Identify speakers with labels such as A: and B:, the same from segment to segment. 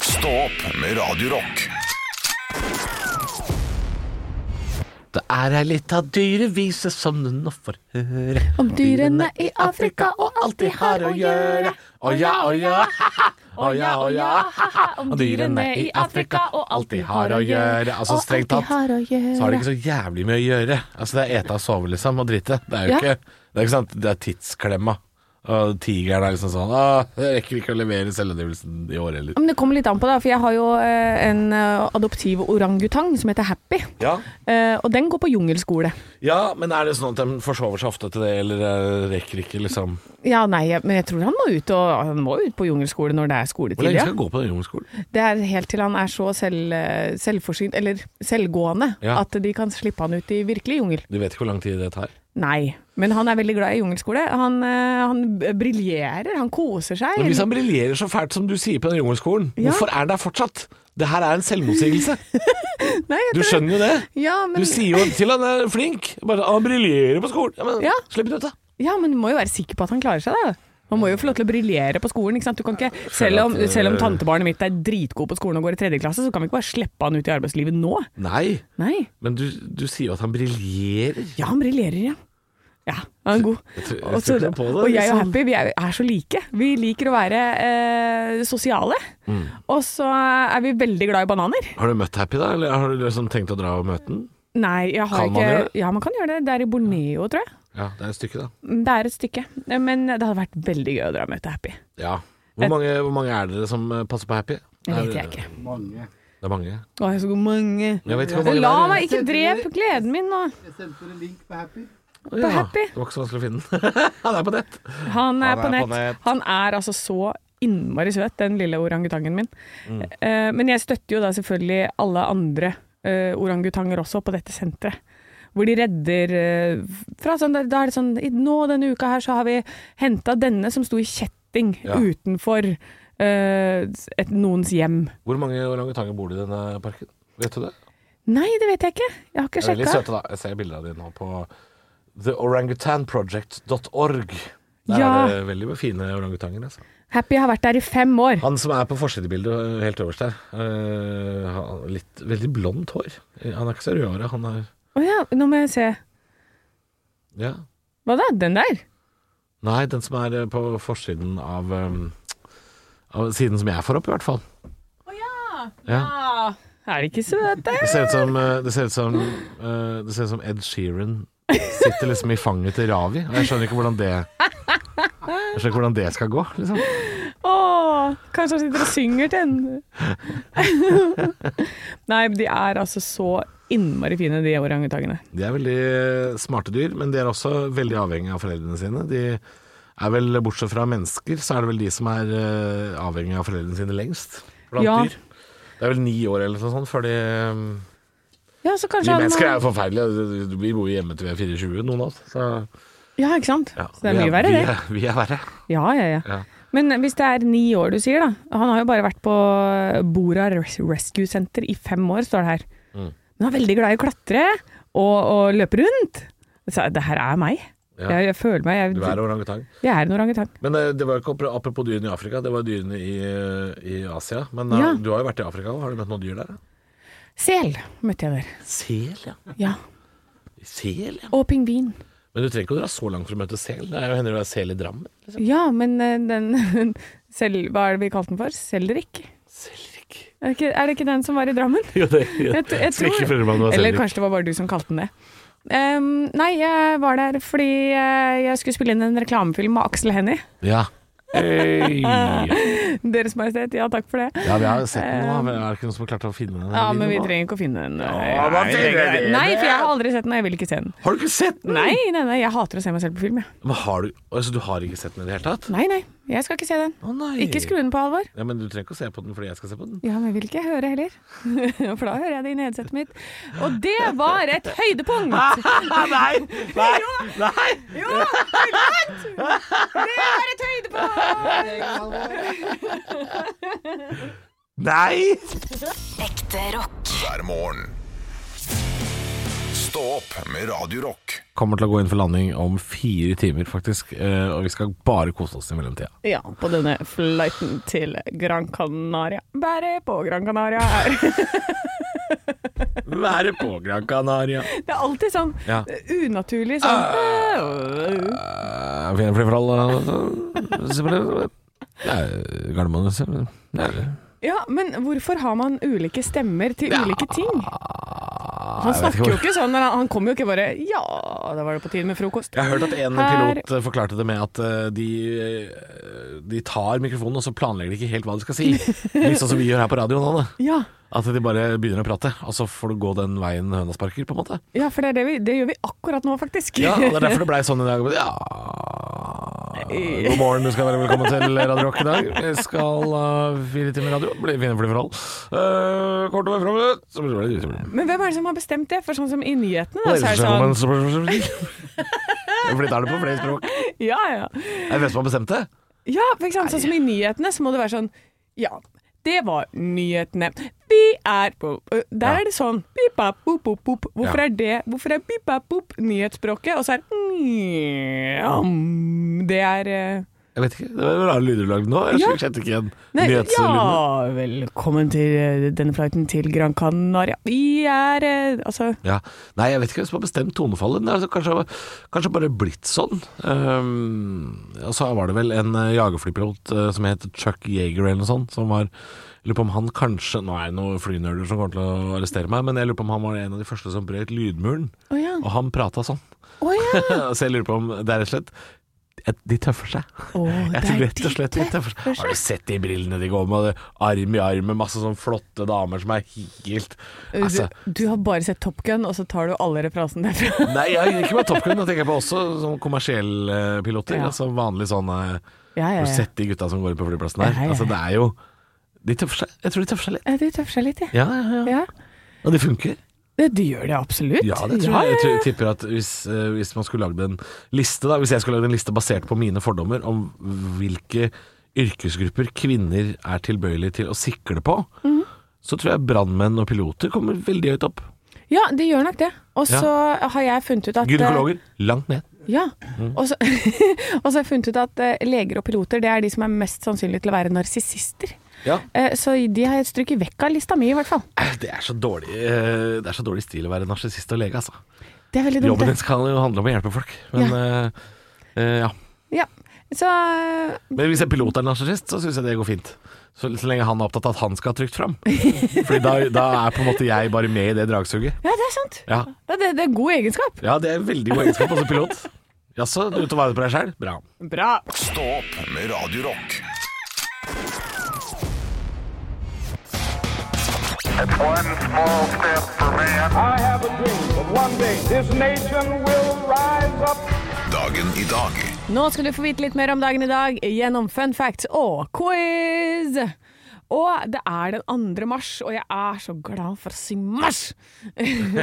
A: Stå opp med Radio Rock.
B: Det er ei lita dyrevise som du nå får høre.
C: Om dyrene i Afrika og alt de har å gjøre.
B: Å ja, å ja, ha-ha. Å ja, å ja, ha-ha.
C: Om dyrene i Afrika og alt de har å gjøre.
B: Altså
C: Og
B: strengt
C: alt de
B: tatt
C: har å gjøre.
B: så har det ikke så jævlig mye å gjøre. Altså det er ete og sove, liksom, og drite. Det er jo
C: Ja.
B: ikke Det er ikke sant, det er tidsklemma. Og tigeren er liksom sånn Å, jeg rekker ikke å levere selvangivelsen i år heller.
C: Men det kommer litt an på, da, for jeg har jo eh, en eh, adoptiv orangutang som heter Happy.
B: Ja.
C: Eh, Og den går på jungelskole.
B: ja, men er det sånn at de forsover seg ofte til det, eller eh, rekker ikke, liksom?
C: Ja, nei, jeg- men jeg tror han må ut, og, han må ut på jungelskole når det er
B: Hvor
C: skoletid.
B: lenge
C: Ja.
B: skal du gå på den romskolen?
C: Det er helt til han er så selv, eh, selvforsynt, eller selvgående,
B: Ja.
C: at de kan slippe han ut i virkelig jungel.
B: Du vet ikke hvor lang tid det tar?
C: Nei, men han er veldig glad i jungelskole. Han, eh, han b- briljerer, han koser seg.
B: Men hvis han briljerer så fælt som du sier på den jungelskolen,
C: Ja.
B: hvorfor er han der fortsatt? Det her er en selvmotsigelse.
C: Nei, jeg
B: Du
C: tror-
B: skjønner jo det.
C: Ja, men,
B: Du sier jo til han er flink. Bare han briljerer på skolen. Ja, men
C: Ja.
B: slipp det ut, da.
C: ja, men du må jo være sikker på at han klarer seg, da. Man må jo få lov til å briljere på skolen. ikke sant? Du kan ikke, selv, om,
B: at, eh,
C: selv om tantebarnet mitt er dritgod på skolen og går i tredje klasse, så kan vi ikke bare slippe han ut i arbeidslivet nå.
B: Nei,
C: Nei.
B: men du, du sier jo at han briljerer.
C: Ja, han briljerer, ja. Ja, han er god.
B: Jeg tror- jeg
C: Og
B: tror
C: så-
B: ikke noe på det,
C: og jeg og
B: liksom.
C: Happy vi er, er så like. Vi liker å være eh, sosiale.
B: Mm.
C: Og så er vi veldig glad i bananer.
B: Har du møtt Happy, da? Eller har du liksom tenkt å dra og møte den?
C: Nei, jeg har
B: Kan
C: ikke
B: man gjøre det?
C: Ja, man kan gjøre det. Det er i Borneo, tror jeg.
B: Ja, det er et stykke, da.
C: Det er et stykke. Men det hadde vært veldig gøy å dra og møte Happy.
B: Ja. Hvor mange, hvor mange er dere som eh, passer på Happy?
C: Det
B: Er-
C: vet jeg ikke.
B: Det er mange.
C: Å, jeg er så god mange.
B: Jeg vet ikke hvor mange
C: La
B: det er.
C: meg ikke drepe gleden min nå.
D: Jeg sendte dere link på Happy.
B: Å,
C: på Happy.
B: Det var ikke så vanskelig å finne den. han er på nett.
C: Han er,
B: Han
C: på, nett. Han er altså så innmari søt, den lille orangutangen min. Eh, men jeg støtter jo da selvfølgelig alle andre eh, orangutanger også på dette senteret. Hvor de redder eh, fra sånn, Da er det sånn i- Nå denne uka her så har vi henta denne som sto i kjetting
B: Ja.
C: utenfor eh, et, noens hjem.
B: Hvor mange orangutanger bor det i denne parken? Vet du det?
C: Nei, det vet jeg ikke. Jeg har ikke
B: Det er veldig
C: sjekka.
B: søte, da. Jeg ser bilder av de nå på theorangutanproject.org. Der
C: Ja.
B: er det veldig fine orangutanger. Altså.
C: Happy har vært der i fem år.
B: Han som er på forsidebildet helt øverst der, eh, har litt, veldig blondt hår. Han er ikke så rødhåra, han er
C: Å ja, nå må jeg se.
B: Ja.
C: Hva da? Den der?
B: Nei, den som er eh, på forsiden av, eh, av Siden som jeg får opp, i hvert fall. Ja.
C: Ah, er de ikke søte?
B: Det ser ut som, eh, det ser ut som, eh, det ser ut som Ed Sheeran sitter liksom i fanget til Ravi. Og jeg skjønner ikke hvordan det Jeg skjønner ikke hvordan det skal gå, liksom.
C: Åh, kanskje han sitter og synger til henne. Nei, de er altså så innmari fine, de orangutangene.
B: De er veldig eh, smarte dyr, men de er også veldig avhengige av foreldrene sine. De er vel, bortsett fra mennesker, så er det vel de som er eh, avhengige av foreldrene sine lengst. Blant
C: Ja.
B: dyr. Det er vel ni år eller noe sånt før de Vi
C: Ja, så kanskje han...
B: mennesker er jo forferdelige. Vi bor jo hjemme til vi er 24, noen av oss. Så,
C: Ja, ikke sant?
B: ja,
C: så det er
B: vi
C: mye verre,
B: vi
C: det.
B: er- Vi er verre.
C: Ja, ja, ja,
B: Ja.
C: Men hvis det er ni år du sier da, han har jo bare vært på Bora Res- Rescue Center i fem år, står det her.
B: Mm.
C: Men han er veldig glad i å klatre og, og løpe rundt. Så det her er meg.
B: Ja.
C: Jeg, jeg føler meg,
B: Du
C: jeg,
B: er orangutang.
C: jeg er en orangutang.
B: Men eh, det var jo ikke opp- apropos dyrene i Afrika, det var dyrene i, i Asia. Men eh,
C: Ja.
B: du har jo vært i Afrika òg, har du møtt noen dyr der? da?
C: Sel møtte jeg der.
B: Sel, ja.
C: Ja.
B: Sel, ja.
C: Og pingvin.
B: Men du trenger ikke å dra så langt for å møte sel. Det er jo hender det er sel i Drammen. Liksom.
C: Ja, men eh, den selv, Hva er det vi kalte den for? Selrik?
B: Selrik.
C: Er det ikke, er det ikke den som var i Drammen?
B: Jo, det
C: Jeg, t- jeg tror- Eller kanskje det var bare du som kalte den det. Ehm, nei, jeg var der fordi eh, jeg skulle spille inn en reklamefilm med Aksel Hennie.
B: Ja.
C: Deres Majestet, ja takk for det.
B: ja, vi har sett den nå. men Er det ikke noen som har klart å finne den?
C: Eh. Ja, men vi trenger ikke å finne den. eh.
B: Ja, hva trenger vi?
C: Nei, for jeg har aldri sett den, og jeg vil ikke se den.
B: Har du ikke sett den?
C: Nei, nei, nei, jeg hater å se meg selv på film, jeg.
B: Men har du, altså, du har ikke sett den i det hele tatt?
C: Nei, nei, jeg skal ikke se den.
B: Å nei.
C: Ikke skru den på alvor.
B: Ja, men du trenger ikke å se på den fordi jeg skal se på den.
C: Ja, men jeg vil ikke høre heller. For da hører jeg det inni headsetet mitt. Og det var et høydepunkt!
B: nei, nei, nei.
C: Jo, høydepunkt! Det var et høydepunkt!
B: Nei!
E: Ekte rock.
A: hver morgen. Stå opp med Radio Rock.
B: Kommer til å gå inn for landing om fire timer, faktisk. eh, Og vi skal bare kose oss i mellomtida.
C: Ja, på denne flighten til Gran Canaria. Bare på Gran Canaria er
B: Være på Gran Canaria.
C: Det er alltid sånn
B: Ja.
C: unaturlig sånn
B: Eh, vi er fri for alle Nei, Gardermoen så- Nei.
C: Ja, men hvorfor har man ulike stemmer til ulike ting? Han
B: Ah, jeg vet ikke
C: snakker jo
B: hvor-
C: ikke sånn, men han- han kommer jo ikke bare Ja, da var det på tide med frokost.
B: Jeg har hørt at en
C: Her-
B: pilot eh, forklarte det med at eh, de, eh, de tar mikrofonen, og så planlegger de ikke helt hva de skal si. Litt sånn som vi gjør her på radioen, Anne.
C: Ja,
B: At de bare begynner å prate, og så får du gå den veien høna sparker, på en måte.
C: ja for det, er det, vi, det gjør vi akkurat nå, faktisk.
B: Ja, og Det er derfor det blei sånn i dag. Ja God morgen, du skal være velkommen til Radio Rock i dag. Vi skal ha fire timer radio. Blir fine for de forhold. Eh, Kort over fram Så blir det- så blir det
C: Men hvem er det som har bestemt det? For sånn som i nyhetene, da,
B: Ladies
C: så er
B: and
C: det sånn
B: gentlemen, så blir det- så blir det- Fordi da er det på flere språk.
C: sånn- Ja, ja.
B: Er det hvem som har bestemt det?
C: Ja, for ikke sant? Sånn som i nyhetene, så må det være sånn Ja, det var nyhetene. Vi er på øh, Der
B: Ja.
C: er det sånn pipa, pop, pop, pop. Hvorfor
B: Ja.
C: er det Hvorfor er pipa, pop nyhetsspråket, og så er mm, Det er eh,
B: Jeg vet ikke. Det var rare lyder du lagde nå. Jeg
C: Ja.
B: kjente ikke igjen
C: Nei,
B: nyhetslydene.
C: ja, velkommen til eh, denne flighten til Gran Canaria. Vi er eh, Altså
B: Ja. Nei, jeg vet ikke hvem som har bestemt tonefallet. men Det er altså kanskje, kanskje bare blitt sånn. Ehm, og så var det vel en eh, jagerflypilot eh, som het Chuck Yeager eller noe sånt, som var jeg Lurer på om han kanskje Nå er det noen flynerder som kommer til å arrestere meg, men jeg lurer på om han var en av de første som brøt lydmuren.
C: Å ja.
B: Og han prata sånn.
C: Å ja.
B: så jeg lurer på om det er rett og slett eh, de tøffer seg.
C: Å,
B: Jeg
C: det
B: tror
C: er
B: rett og
C: de
B: slett de tøffer seg. Har du sett de brillene de går med? og det Arm i arm med masse sånn flotte damer som er helt altså,
C: du, du har bare sett Top Gun, og så tar du alle referansene derfra.
B: Nei, jeg, ikke med Top Gun. Da tenker jeg på også sånn kommersielle eh, piloter.
C: Ja.
B: Altså vanlig sånn eh,
C: Ja, ja,
B: Har du
C: ja.
B: sett de gutta som går ut på flyplassen der?
C: Ja, ja, ja.
B: Altså, det er jo De tøffer seg. Jeg tror de tøffer seg litt.
C: Eh, De tøffer seg litt, ja.
B: Ja, ja, ja.
C: ja.
B: Og det funker.
C: Det, det gjør det absolutt.
B: Ja, det tror
C: Ja,
B: jeg. Jeg
C: ja,
B: tror,
C: ja.
B: tipper at hvis, eh, hvis man skulle lagd en liste, da Hvis jeg skulle lagd en liste basert på mine fordommer om hvilke yrkesgrupper kvinner er tilbøyelige til å sikle på,
C: Mhm.
B: så tror jeg brannmenn og piloter kommer veldig høyt opp.
C: Ja, de gjør nok det. Og så har jeg funnet ut at eh,
B: Gynekologer langt ned.
C: Ja. Og så og så har jeg funnet ut at eh, leger og piloter det er de som er mest sannsynlig til å være narsissister.
B: Ja.
C: Eh, Så de har jeg stryket vekk av lista mi, i hvert fall.
B: Det er så dårlig, eh, det er så dårlig stil å være narsissist og lege, altså.
C: Det er veldig dumt.
B: Jobben din
C: det.
B: skal jo handle om å hjelpe folk, men eh, eh, ja.
C: Ja. Så eh,
B: Men hvis en pilot er narsissist, så syns jeg det går fint. Så, så lenge han er opptatt av at han skal ha trygt fram. Fordi da, da er på en måte jeg bare med i det dragsuget.
C: Ja, det er sant.
B: Ja.
C: Ja, det, det er god egenskap.
B: Ja, det er en veldig god egenskap også pilot. Jaså, du tar vare på deg sjæl? Bra.
C: Bra.
A: Stå opp med Radio Rock.
D: It's one small step for man.
E: I have a dream that one day this nation will rise up.
A: Dagen i dag
C: Nå skal du få vite litt mer om dagen i dag gjennom fun facts og quiz. Og det er den 2. mars, og jeg er så glad for å si mars! det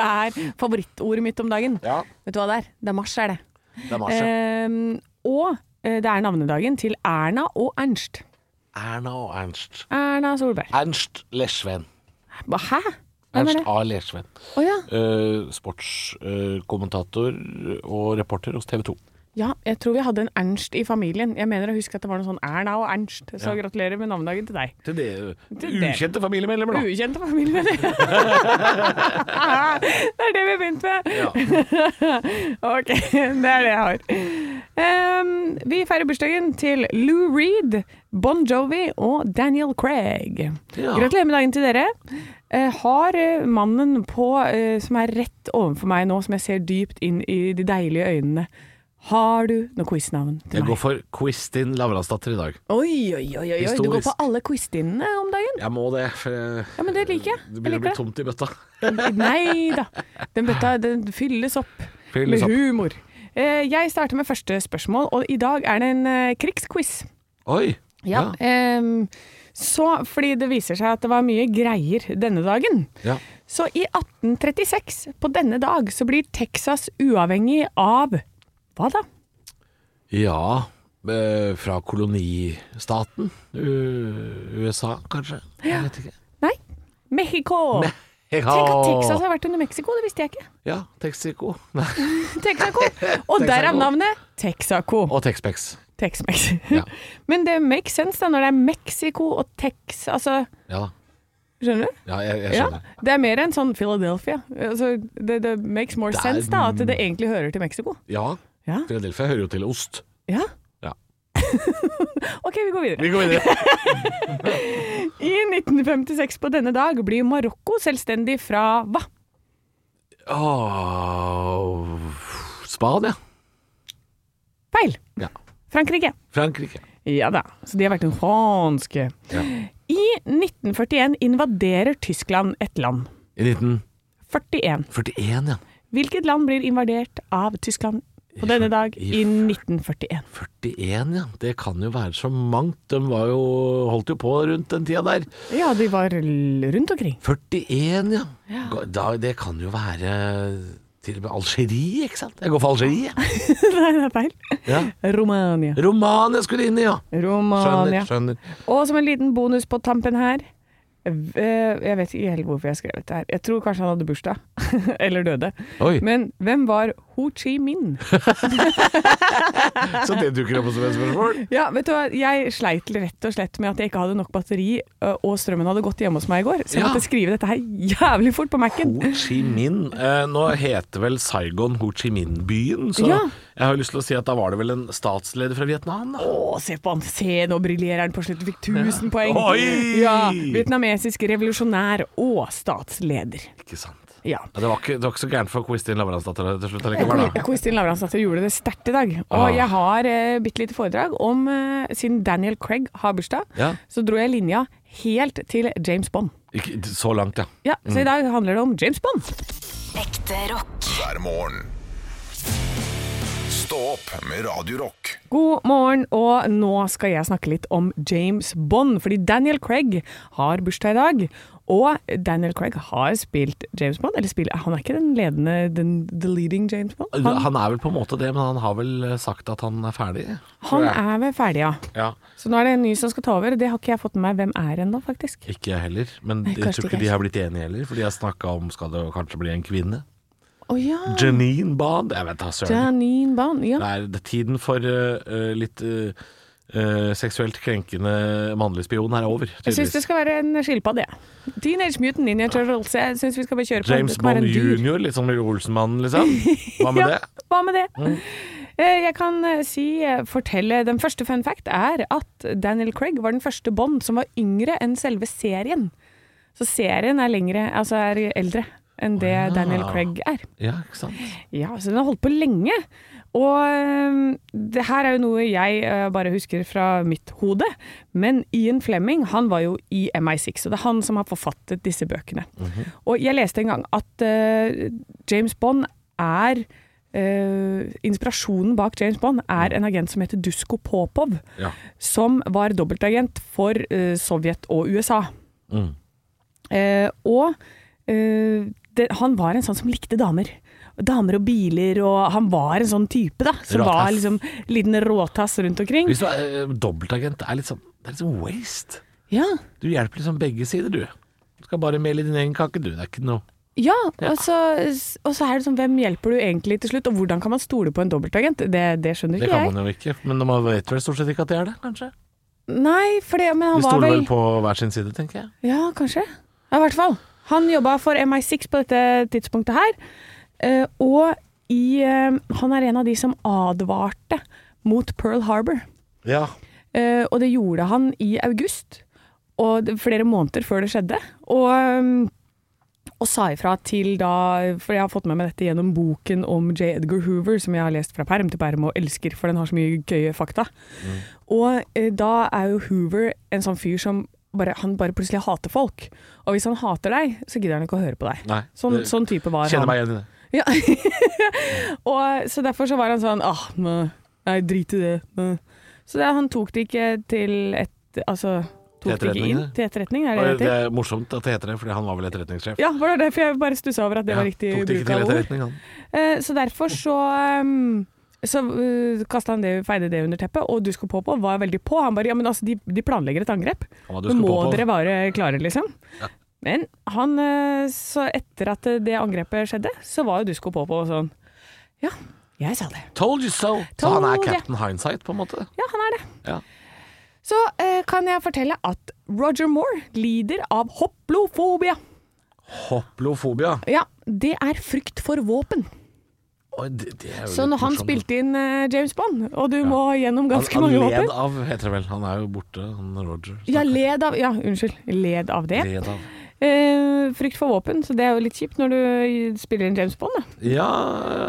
C: er favorittordet mitt om dagen.
B: Ja.
C: Vet du hva det er? Det er mars, er det.
B: Det er
C: Ehm, og eh, det er navnedagen til Erna og Ernst.
B: Erna og Ernst.
C: Erna Solberg.
B: Ernst Leschven.
C: Hva, Hæ? Hvem er
B: Ernst
C: det?
B: A. Leschven.
C: Å ja.
B: Eh, Sportskommentator og reporter hos TV 2.
C: ja. Jeg tror vi hadde en Ernst i familien. Jeg mener å huske at det var noe sånn Erna og Ernst. Så gratulerer med navnedagen til deg.
B: Til det
C: Til det.
B: ukjente familiemedlemmer, da.
C: Ukjente familiemedlemmer. det er det vi har begynt med. ok, det er det jeg har. Ehm, vi feirer bursdagen til Lou Reed, Bon Jovi og Daniel Craig.
B: Ja.
C: Gratulerer med dagen til dere. Eh, har eh, mannen på eh, som er rett overfor meg nå, som jeg ser dypt inn i de deilige øynene, har du noe quiznavn til
B: Jeg går
C: meg?
B: for Quistin Lavransdatter i dag.
C: Oi, oi, oi, oi, oi. Du går
B: Historisk.
C: på alle quizdinene om dagen?
B: Jeg må det, for jeg-
C: Ja, men det liker jeg.
B: det
C: Jeg
B: begynner å
C: liker
B: bli
C: det.
B: tomt i bøtta.
C: Nei da. Den bøtta den fylles opp
B: Fylles
C: med
B: opp.
C: humor. Eh, Jeg starter med første spørsmål, og i dag er det en eh, krigsquiz.
B: Oi! Ah.
C: Em, Så, fordi det viser seg at det var mye greier denne dagen.
B: Ja.
C: Så i 1836, på denne dag, så blir Texas uavhengig av Hva da?
B: Ja, eh, fra kolonistaten U USA, kanskje? Jeg vet ikke.
C: Nei, Mexico! Tenk at Texas har vært under Mexico, det visste jeg ikke.
B: Ja, Texaco. Nei,
C: Texaco. Og der er
B: Texaco.
C: navnet Texaco.
B: Og Texpex.
C: Tex-Mex.
B: Ja.
C: Men det makes sense da, når det er Mexico og Tex... Altså,
B: Ja da.
C: skjønner du?
B: Ja, jeg, jeg
C: Ja,
B: skjønner.
C: det er mer enn sånn Philadelphia. Altså, det, det makes more
B: Det er-
C: sense da, at det egentlig hører til Mexico.
B: Ja.
C: Ja.
B: Philadelphia hører jo til ost.
C: ja.
B: Ja.
C: Ok, vi går videre.
B: Vi går videre.
C: I 1956 på denne dag blir Marokko selvstendig fra hva?
B: Åh, Spania.
C: Feil.
B: Ja.
C: Frankrike.
B: Frankrike.
C: Ja da, så de har vært en franske.
B: Ja.
C: I 1941 invaderer Tyskland et land.
B: I
C: 41.
B: 1941, ja.
C: Hvilket land blir invadert av Tyskland på denne dag i 1941?
B: 41, ja. Det kan jo være så mangt. De var jo, holdt jo på rundt den tida der.
C: Ja, de var l- rundt omkring.
B: 41, ja. Gå- Da, det kan jo være til og med Algerie, ikke sant? Jeg går for Algerie. jeg.
C: Nei, det er feil.
B: Ja.
C: Romania.
B: Romania skulle inn i, ja. Skjønner,
C: Romania.
B: skjønner.
C: Og som en liten bonus på tampen her v- eh, Jeg vet ikke helt hvorfor jeg skrev dette her. Jeg tror kanskje han hadde bursdag. Eller døde.
B: Oi.
C: Men hvem var Ho Chi Minh?
B: Så det dukker opp som et spørsmål.
C: Ja, vet du hva? Jeg sleit rett og slett med at jeg ikke hadde nok batteri, ø, og strømmen hadde gått hjemme hos meg i går. Så jeg
B: Ja.
C: måtte skrive dette her jævlig fort på Mac-en.
B: Ho Chi Minh. Eh, nå heter vel Saigon Ho Chi Minh-byen, så
C: Ja.
B: jeg har lyst til å si at da var det vel en statsleder fra Vietnam, da.
C: Å, se på han. Se, nå briljerer han på slutten. Fikk 1000 poeng.
B: Oi!
C: Ja, Vietnamesisk revolusjonær og statsleder.
B: Ikke sant.
C: Ja.
B: Ja, det, var ikke, det var ikke så gærent for Kristin Lavransdatter til slutt allikevel, da.
C: Kristin Lavransdatter gjorde det sterkt i dag. Og
B: Ah.
C: jeg har eh, bitte lite foredrag om eh, Siden Daniel Craig har bursdag,
B: Ja.
C: så dro jeg linja helt til James Bond.
B: Ikke, så langt, ja.
C: Ja, Så i dag handler det om James Bond.
F: Ekte rock.
A: hver morgen. Stå opp med Radio Rock.
C: God morgen, og nå skal jeg snakke litt om James Bond, fordi Daniel Craig har bursdag i dag. Og Daniel Craig har spilt James Bond, eller spiller, han er ikke den ledende, den, the leading James Bond?
B: Han,
C: Han,
B: er vel på en måte det, men han har vel eh, sagt at han er ferdig.
C: han er vel ferdig, ja.
B: Ja,
C: Så nå er det en ny som skal ta over, og det har ikke jeg fått med meg hvem er ennå, faktisk.
B: Ikke jeg heller, men
C: Nei,
B: jeg tror
C: kanskje
B: ikke
C: ikke.
B: de har blitt enige heller. For de har snakka om skal det kanskje bli en kvinne.
C: Å ja,
B: Janine Bond? Jeg vet da søren.
C: Janine Bond, ja.
B: Det er det er tiden for eh, eh, litt eh, eh, seksuelt krenkende mannlig spion her er over.
C: Jeg syns det
B: tydeligvis.
C: skal være en skilpadde, jeg. Teenage Mutant Ninja Turtles, jeg syns vi skal bare kjøre på.
B: James
C: Det kan være
B: Bond
C: en dyr.
B: jr., litt sånn Olsenmannen, liksom. Hva med
C: ja,
B: det? Mm.
C: Hva med det? Eh, Jeg kan eh, si, eh, fortelle Den første fun fact er at Daniel Craig var den første Bond som var yngre enn selve serien. Så serien er lengre, altså er eldre enn det
B: Wow.
C: Daniel Craig er.
B: Ja, ikke sant.
C: Ja, så den har holdt på lenge. Og eh, det her er jo noe jeg eh, bare husker fra mitt hode. Men Ian Fleming, han var jo i MI6, og det er han som har forfattet disse bøkene. Og jeg leste en gang at eh, James Bond er eh, inspirasjonen bak James Bond er en agent som heter Dusko Popov,
B: Ja.
C: som var dobbeltagent for eh, Sovjet og USA.
B: Mm.
C: Eh, og eh, det, han var en sånn som likte damer. Damer og biler, og han var en sånn type, da. Som
B: Råtass.
C: var liksom liten råtass rundt omkring.
B: Hvis du er eh, dobbeltagent, det er litt sånn, det er litt sånn waste.
C: Ja,
B: Du hjelper liksom begge sider, du. Du skal bare mele din egen kake, du. Det er ikke noe
C: ja, Og, så, og så er det sånn, hvem hjelper du egentlig til slutt? Og hvordan kan man stole på en dobbeltagent? Det, det skjønner
B: Det
C: ikke
B: kan
C: jeg.
B: man jo ikke, men man vet vel stort sett ikke at det er det, kanskje?
C: Nei, for det, men
B: De
C: han var
B: stoler
C: vel
B: vel på hver sin side, tenker jeg.
C: Ja, kanskje. Ja, I hvert fall. Han jobba for MI6 på dette tidspunktet her. eh, Og i, eh, han er en av de som advarte mot Pearl Harbor.
B: Ja.
C: Eh, Og det gjorde han i august, og det- flere måneder før det skjedde. Og, um, og sa ifra til da For jeg har fått med meg dette gjennom boken om J. Edgar Hoover, som jeg har lest fra perm til perm og elsker, for den har så mye gøye fakta.
B: Mm.
C: Og eh, da er jo Hoover en sånn fyr som bare, han bare plutselig hater folk. Og hvis han hater deg, så gidder han ikke å høre på deg.
B: Nei.
C: Sånn,
B: det-
C: sånn type var
B: Kjenner
C: han.
B: meg igjen i det.
C: Ja. og så derfor så var han sånn ah, nei, nei, drit i det. Nei. Så det, han tok det ikke til et Altså tok
B: Til
C: det ikke inn
B: etterretning, det.
C: til etterretning, er det det
B: Og det
C: heter?
B: er morsomt at det heter det, fordi han var vel etterretningssjef.
C: Ja, var det derfor jeg bare stussa over at det var riktig
B: tok det ikke
C: bruk
B: til
C: av ord.
B: etterretning, han.
C: Eh, Så derfor så um, så uh, kasta han det, feide det under teppet, og Dusko Popo var veldig på. Han bare ja, men altså, de, de planlegger et angrep.
B: Han var
C: Nå må
B: duskopopov.
C: dere være klare, liksom. Men han, eh, så etter at det angrepet skjedde, så var jo Dusko på på sånn Ja, jeg sa det.
B: Told you so! Så
C: Told
B: han er
C: ya.
B: Captain Hindsight, på en måte.
C: Ja, han er det.
B: Ja.
C: Så eh, kan jeg fortelle at Roger Moore lider av hoplofobia.
B: Hoplofobia.
C: Ja, det er frykt for våpen.
B: Oi, det, det er jo
C: Så
B: litt
C: når han
B: morsomt.
C: spilte inn eh, James Bond, og du må gjennom
B: Han-
C: ganske mange
B: Han
C: våpen
B: led av, heter det vel. Han er jo borte, han Roger.
C: Ja, led av Ja, unnskyld. Led av det.
B: Led av.
C: Eh, frykt for våpen, så det er jo litt kjipt når du spiller inn James Bond, da.
B: Ja,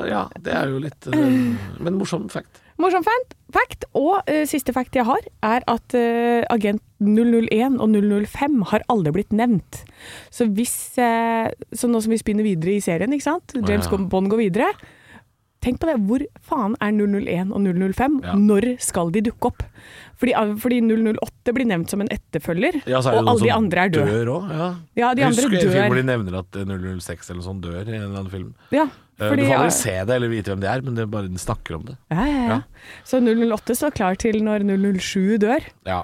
B: ja, det er jo litt eh, Men morsom fact.
C: Morsom fact, fact og eh, siste fact jeg har, er at eh, agent 001 og 005 har aldri blitt nevnt. Så hvis eh, Så nå som vi spinner videre i serien, ikke sant? James
B: ja.
C: Bond går videre. Tenk på det, hvor faen er 001 og 005?
B: Ja.
C: Når skal de dukke opp? Fordi, fordi 008 blir nevnt som en etterfølger,
B: Ja, så er det
C: og
B: noen
C: alle de
B: som
C: andre er døde.
B: Dør òg, ja.
C: Ja, de
B: Jeg
C: andre
B: husker en film hvor
C: dør.
B: de nevner at eh, 006 eller sånn dør i en eller annen film.
C: Ja,
B: Eh,
C: fordi-
B: du får aldri se det eller vite hvem det er, men det er bare de snakker om det.
C: ja, ja, ja.
B: Ja.
C: Så 008 står klar til når 007 dør.
B: Ja,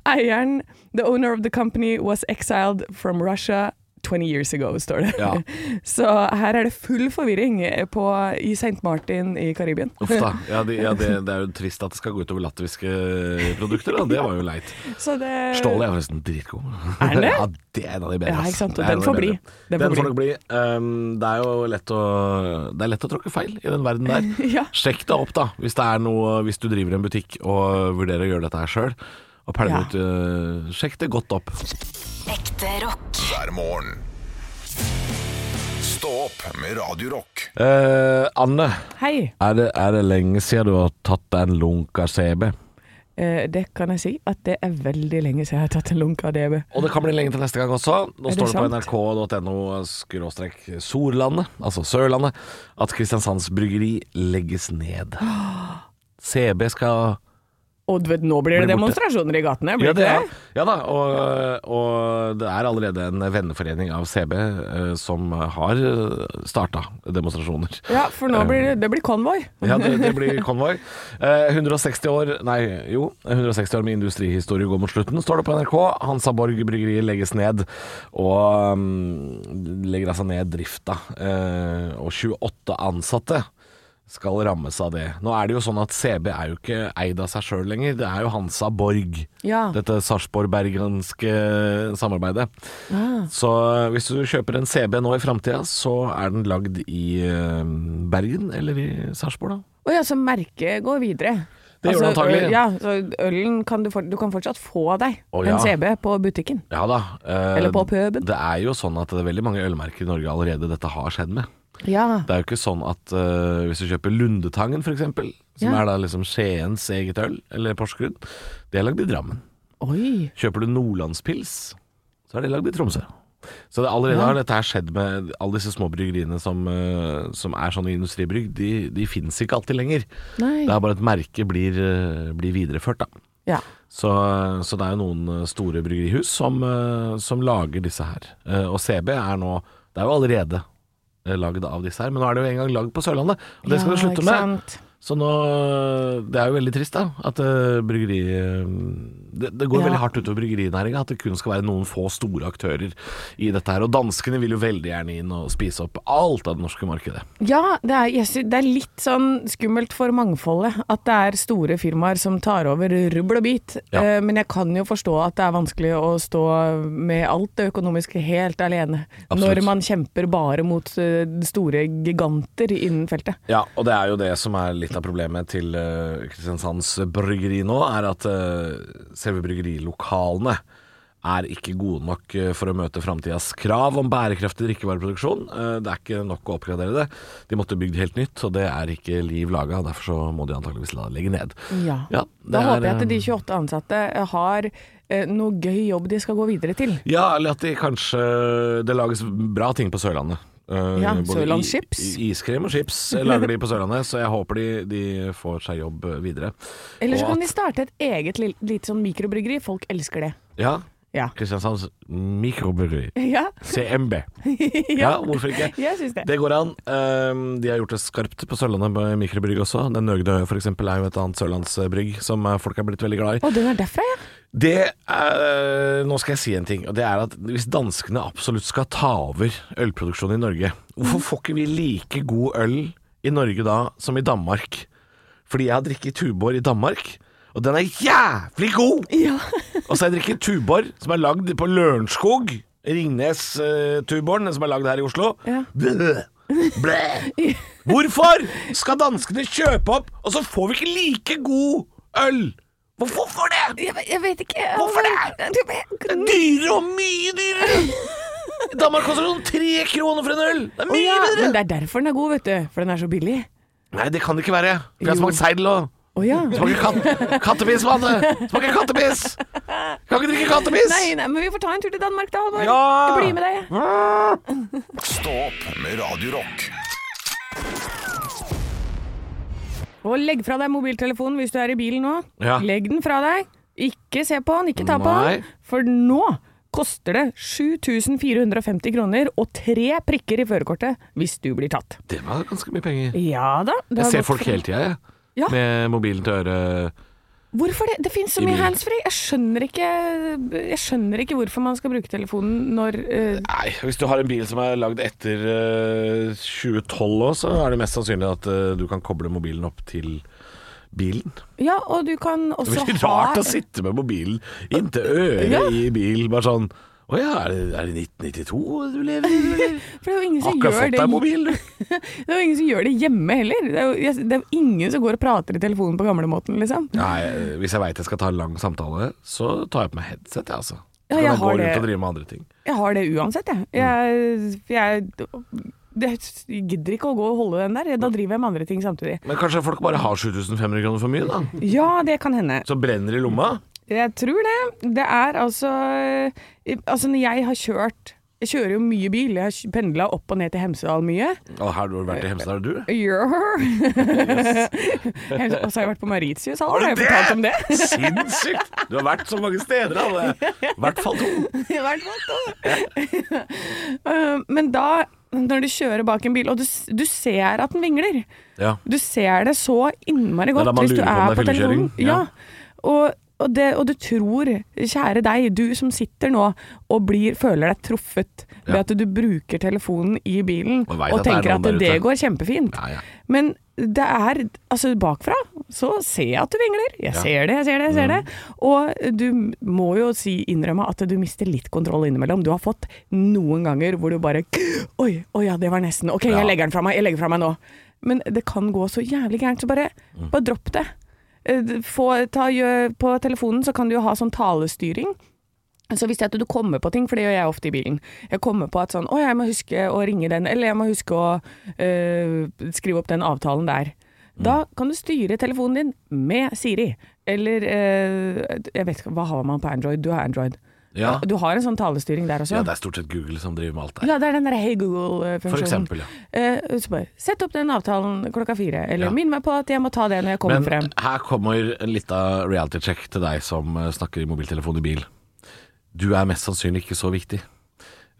C: Eieren, the owner of the company, was exiled from Russia 20 years ago, står det.
B: Ja.
C: Så her er det full forvirring eh, på, i St. Martin i Karibien.
B: Uff da. Ja, det, ja det, det er jo trist at det skal gå utover latviske produkter, da. Det var jo leit.
C: Så det
B: Ståle er forresten dritgod.
C: Eh, Er den det?
B: Ja, det er en av de bedre.
C: Ja,
B: ass.
C: ikke sant, og
B: Det er
C: den
B: en av de
C: får bli.
B: bedre.
C: Den
B: Den,
C: får
B: får nok bli. Um, det er jo lett å, det er lett å tråkke feil i den verden der.
C: Ja.
B: Sjekk deg opp, da, hvis, det er noe, hvis du driver en butikk og vurderer å gjøre dette her sjøl. Og
C: Ja.
B: pælme ut uh, Sjekk det godt opp.
F: Ekte rock.
A: hver morgen. Stå opp med Radio Rock.
B: Eh, Anne,
C: Hei.
B: er det, er det lenge siden du har tatt deg en lunk av CB?
C: Eh, det kan jeg si at det er veldig lenge siden jeg har tatt en lunk av DB.
B: Og det kan bli lenge til neste gang også. Nå
C: Er det
B: står det på
C: sant?
B: nrk.no skråstrek Sorlandet, altså Sørlandet, at Kristiansands Bryggeri legges ned. CB skal
C: Oddved, nå blir
B: Blir
C: det
B: borte.
C: demonstrasjoner i gatene, blir
B: Ja,
C: det
B: det er,
C: ikke det?
B: ja da, og, og det er allerede en venneforening av CB eh, som har starta demonstrasjoner.
C: Ja, for nå blir det,
B: Eh.
C: det blir konvoi.
B: Ja, det, det blir konvoi. Eh, 160 år Nei, jo. 160 år med industrihistorie går mot slutten, står det på NRK. Hansa Borg bryggeri legges ned, og mm, legger altså ned drifta. Eh, og 28 ansatte skal rammes av det. Nå er det jo sånn at CB er jo ikke eid av seg sjøl lenger, det er jo Hansa Borg.
C: Ja.
B: Dette sarpsborg-bergenske samarbeidet.
C: Ah.
B: Så eh, hvis du kjøper en CB nå i framtida, så er den lagd i eh, Bergen eller i Sarpsborg, da.
C: Å ja, så merket går videre. Altså,
B: Det gjør det antagelig.
C: øl- Ja, så ølen kan du, for, du kan fortsatt få deg
B: Å, ja.
C: en CB på butikken.
B: Ja da. eh,
C: Eller på puben.
B: Det er jo sånn at det er veldig mange ølmerker i Norge allerede dette har skjedd med.
C: Ja.
B: Det er jo ikke sånn at eh, hvis du kjøper Lundetangen f.eks., som
C: Ja.
B: er da liksom Skiens eget øl, eller Porsgrunn, det er lagd i Drammen.
C: Oi.
B: Kjøper du Nordlandspils, så er det lagd i Tromsø. Så det allerede har dette her skjedd med alle disse små bryggeriene som, eh, som er sånne industribrygg. De, de fins ikke alltid lenger.
C: Nei.
B: Det er bare at merket blir, eh, blir videreført, da.
C: Ja.
B: Så, så det er jo noen eh, store bryggerihus som, eh, som lager disse her. Eh, Og CB er nå Det er jo allerede eh, lagd av disse her, men nå er det jo en gang lagd på Sørlandet, og det skal
C: ja,
B: det slutte
C: ikke
B: med.
C: sant.
B: Så nå Det er jo veldig trist, da. At eh, bryggeri eh, det, det går
C: Ja.
B: veldig hardt utover bryggerinæringa. At det kun skal være noen få store aktører i dette her. Og danskene vil jo veldig gjerne inn og spise opp alt av det norske markedet.
C: Ja, det er, jeg sy- det er litt sånn skummelt for mangfoldet at det er store firmaer som tar over rubbel og bit.
B: Ja.
C: Eh, Men jeg kan jo forstå at det er vanskelig å stå med alt det økonomiske helt alene.
B: Absolutt.
C: Når man kjemper bare mot eh, store giganter innen feltet.
B: Ja, og det er jo det som er litt av problemet til eh, Kristiansands bryggeri nå, er at eh, selve bryggerilokalene er ikke gode nok eh, for å møte framtidas krav om bærekraftig drikkevareproduksjon. Eh, det er ikke nok å oppgradere det. De måtte bygd helt nytt, og det er ikke liv laga. Derfor så må de antakeligvis la- legge ned.
C: Ja.
B: Ja,
C: da
B: det er,
C: håper jeg at de
B: eh,
C: 28 ansatte har eh, noe gøy jobb de skal gå videre til.
B: Ja, eller at de kanskje Det lages bra ting på Sørlandet. Eh,
C: Ja,
B: både
C: Sørlandschips.
B: i- i- Iskrem og chips lager de på Sørlandet, så jeg håper de, de får seg jobb eh, videre.
C: Eller så
B: Og at-
C: kan de starte et eget lille, lite sånn mikrobryggeri. Folk elsker det.
B: Ja,
C: Ja.
B: Kristiansands mikrobryggeri.
C: Ja,
B: CMB. Ja, hvorfor ikke?
C: jeg syns det.
B: Det går an. Ehm, De har gjort det skarpt på Sørlandet med mikrobrygg også. Den Nøgdø for eksempel er jo et annet sørlandsbrygg som eh, folk er blitt veldig glad i.
C: Å, den er derfra, ja.
B: Det er, Nå skal jeg si en ting, og det er at hvis danskene absolutt skal ta over ølproduksjonen i Norge, hvorfor får ikke vi like god øl i Norge da som i Danmark? Fordi jeg har drikket Tuborg i Danmark, og den er jævlig god! Og så har jeg drikket Tuborg, som er lagd på Lørenskog. Ringnes-tuborgen, som er lagd her i Oslo.
C: Ja.
B: Blæ. Blæ. Hvorfor skal danskene kjøpe opp, og så får vi ikke like god øl? Hvorfor får det?
C: Jeg, ve- jeg vet ikke.
B: Hvorfor det? Det er
C: det?
B: dyrere og mye dyrere! I Danmark koster det sånn tre kroner for en øl! Det er mye
C: ja, men
B: bedre!
C: det er derfor den er god, vet du. For den er så billig.
B: Nei, det kan det ikke være. For jeg har
C: Jo.
B: smakt seidel og
C: Å ja.
B: Smaker kat kattepiss, Manne! Smaker kattepiss! Kan ikke drikke kattepiss!
C: Nei, nei, men vi får ta en tur til Danmark da, Halvor.
B: Ja!
C: Jeg blir med deg. jeg.
A: Stå opp med Radio Rock.
C: Og legg fra deg mobiltelefonen hvis du er i bilen nå.
B: Ja.
C: Legg den fra deg. Ikke se på den, ikke ta på
B: Nei.
C: den. For nå koster det 7450 kroner og tre prikker i førerkortet hvis du blir tatt.
B: Det var ganske mye penger.
C: Ja da. det har
B: Jeg ser
C: gått
B: folk
C: fra-
B: hele tida, jeg.
C: Ja.
B: Med mobilen til øret
C: Hvorfor det? Det finnes så
B: I
C: mye
B: bilen.
C: handsfree. Jeg skjønner ikke Jeg skjønner ikke hvorfor man skal bruke telefonen når eh,
B: Nei, hvis du har en bil som er lagd etter eh, 2012 òg, så er det mest sannsynlig at eh, du kan koble mobilen opp til bilen.
C: Ja, og du kan også
B: Det
C: ha
B: er veldig rart altså. å sitte med mobilen inntil øret
C: Ja.
B: i bilen, bare sånn Å ja, er det, er det 1992 du lever i? eller?
C: For det er jo ingen som
B: Akkurat
C: gjør
B: fått
C: det
B: deg mobil, du.
C: Det er jo ingen som gjør det hjemme heller. Det er jo jeg- det er jo ingen som går og prater i telefonen på gamlemåten, liksom.
B: Nei, eh, hvis jeg veit jeg skal ta en lang samtale, så tar jeg på meg headset, jeg, altså.
C: Ja,
B: Så kan
C: jeg
B: jeg gå
C: har
B: rundt
C: det.
B: og drive med andre ting.
C: Jeg har det uansett, jeg. Jeg, jeg, jeg gidder ikke å gå og holde den der. Da driver jeg med andre ting samtidig.
B: Men kanskje folk bare har 7500 kroner for mye, da?
C: Ja, det kan hende.
B: Som brenner i lomma?
C: Jeg tror det. Det er altså Altså, når jeg har kjørt Jeg kjører jo mye bil. Jeg har pendla opp og ned til Hemsedal mye.
B: Å, her har du vært i Hemsedal, du?
C: Ja. og så har jeg vært på Mauritius. Har jeg fortalt om det?
B: Sinnssykt! Du har vært så mange steder, alle. I hvert fall to.
C: I hvert fall da. Eh, Men da, når du kjører bak en bil, og du, s- du ser at den vingler
B: Ja.
C: Du ser det så innmari
B: er da
C: godt
B: man
C: hvis du
B: lurer på om
C: er
B: det er
C: på telefonen.
B: fyllekjøring.
C: Ja.
B: Ja.
C: Og, og, det, og du tror, kjære deg, du som sitter nå og blir, føler deg truffet ved
B: Ja.
C: at du bruker telefonen i bilen
B: Og
C: og,
B: vet at det er
C: tenker
B: noen
C: at
B: der
C: det
B: ute.
C: går kjempefint.
B: Ja, ja.
C: Men det er Altså, bakfra så ser jeg at du vingler. Jeg ser det, jeg ser det, jeg ser det. Og du må jo si, innrømme at du mister litt kontroll innimellom. Du har fått noen ganger hvor du bare Oi, oi ja, det var nesten. OK,
B: Ja.
C: jeg legger den fra meg. Jeg legger fra meg nå. Men det kan gå så jævlig gærent, så bare, bare dropp det. Eh, Få, ta, gjø- på telefonen så kan du jo ha sånn talestyring. Så hvis det er at du kommer på ting, for det gjør jeg ofte i bilen Jeg kommer på at sånn, å jeg må huske å ringe den, eller jeg må huske å øh, skrive opp den avtalen der.
B: Mm.
C: Da kan du styre telefonen din med Siri. Eller øh, jeg vet ikke, hva har man på Android? Du har Android.
B: Ja.
C: Du har en sånn talestyring der også?
B: ja, det er stort sett Google som driver med alt der.
C: Ja, det er den der Hey Google-funksjonen.
B: For eksempel, ja.
C: Eh, så bare, Sett opp den avtalen klokka fire, eller
B: Ja.
C: minn meg på at jeg må ta det når jeg kommer
B: Men
C: frem.
B: her kommer en lita reality check til deg som eh, snakker i mobiltelefon i bil. Du er mest sannsynlig ikke så viktig.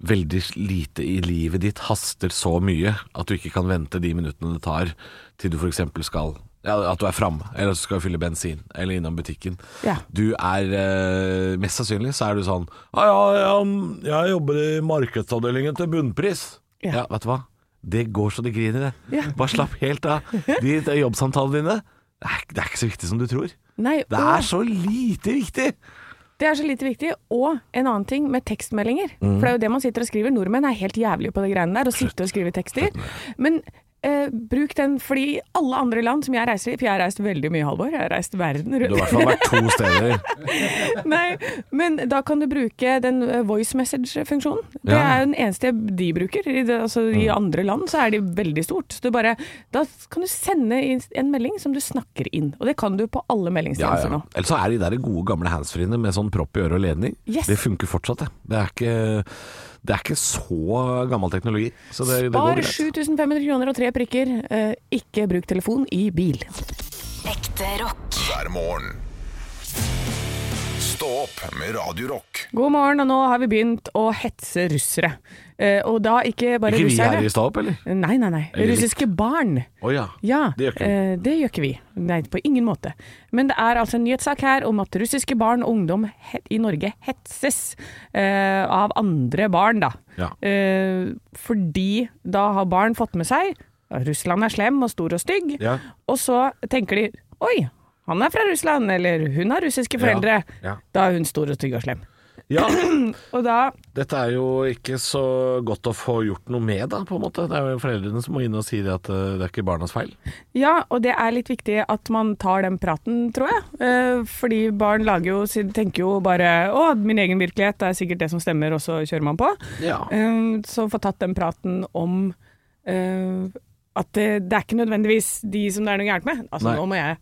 B: Veldig lite i livet ditt haster så mye at du ikke kan vente de minuttene det tar til du f.eks. skal ja, At du er framme, eller at du skal fylle bensin, eller innom butikken.
C: Ja.
B: Du er eh, Mest sannsynlig så er du sånn Ja, ja, ja mm, jeg jobber i markedsavdelingen til bunnpris.
C: Ja.
B: ja, vet du hva? Det går så det griner, det.
C: Ja.
B: Bare slapp helt av. De de jobbsamtalene dine, det er, det er ikke så viktig som du tror.
C: Nei,
B: Det
C: og-
B: er så lite viktig!
C: Det er så lite viktig. Og en annen ting med tekstmeldinger. For det er jo det man sitter og skriver. Nordmenn er helt jævlige på de greiene der, å sitte og skrive tekster. Men eh, bruk den, fordi alle andre land som jeg reiser i For jeg har reist veldig mye, Halvor. Jeg har reist verden
B: Du har i
C: rundt.
B: hvert fall vært to steder.
C: Nei, men da kan du bruke den eh, voice message-funksjonen. Det
B: Ja. Mm.
C: er jo den eneste de bruker. I, det, altså, I andre land så er de veldig stort. Så du bare, da kan du sende inn en melding som du snakker inn. Og det kan du på alle
B: Ja,
C: meldingstjenester
B: ja.
C: nå.
B: Eller så er de der gode gamle handsfreene med sånn propp i øret og ledning.
C: Yes.
B: Det funker fortsatt, det. Det er ikke, det er ikke så gammel teknologi. Så det, det går
C: Spar
B: greit.
C: 7500 kroner og tre prikker. Eh, ikke bruk telefon i bil.
F: Ekte rock.
A: hver morgen. Stå opp med Radio Rock.
C: God morgen, og nå har vi begynt å hetse russere. Eh, og da ikke bare
B: Ikke vi
C: russere.
B: her i stad opp, eller?
C: Nei, nei, nei.
B: Eller litt.
C: Russiske barn.
B: Å ja.
C: Ja,
B: Det gjør ikke vi.
C: eh, det gjør ikke vi. Nei, på ingen måte. Men det er altså en nyhetssak her om at russiske barn og ungdom he- i Norge hetses eh, av andre barn, da.
B: Ja.
C: Eh, fordi da har barn fått med seg at Russland er slem og stor og stygg,
B: Ja.
C: og så tenker de oi, han er fra Russland, eller hun har russiske foreldre.
B: Ja, ja.
C: Da er hun stor og stygg og slem.
B: ja.
C: Og da
B: Dette er jo ikke så godt å få gjort noe med, da, på en måte. Det er jo foreldrene som må inn og si det at eh, det er ikke barnas feil.
C: Ja, og det er litt viktig at man tar den praten, tror jeg. Eh, fordi barn lager jo, sin- tenker jo bare å, min egen virkelighet det er sikkert det som stemmer, og så kjører man på.
B: Ja.
C: Eh, så få tatt den praten om eh, at det, det er ikke nødvendigvis de som det er noe gærent med. Altså,
B: Nei. Mm.
C: nå må jeg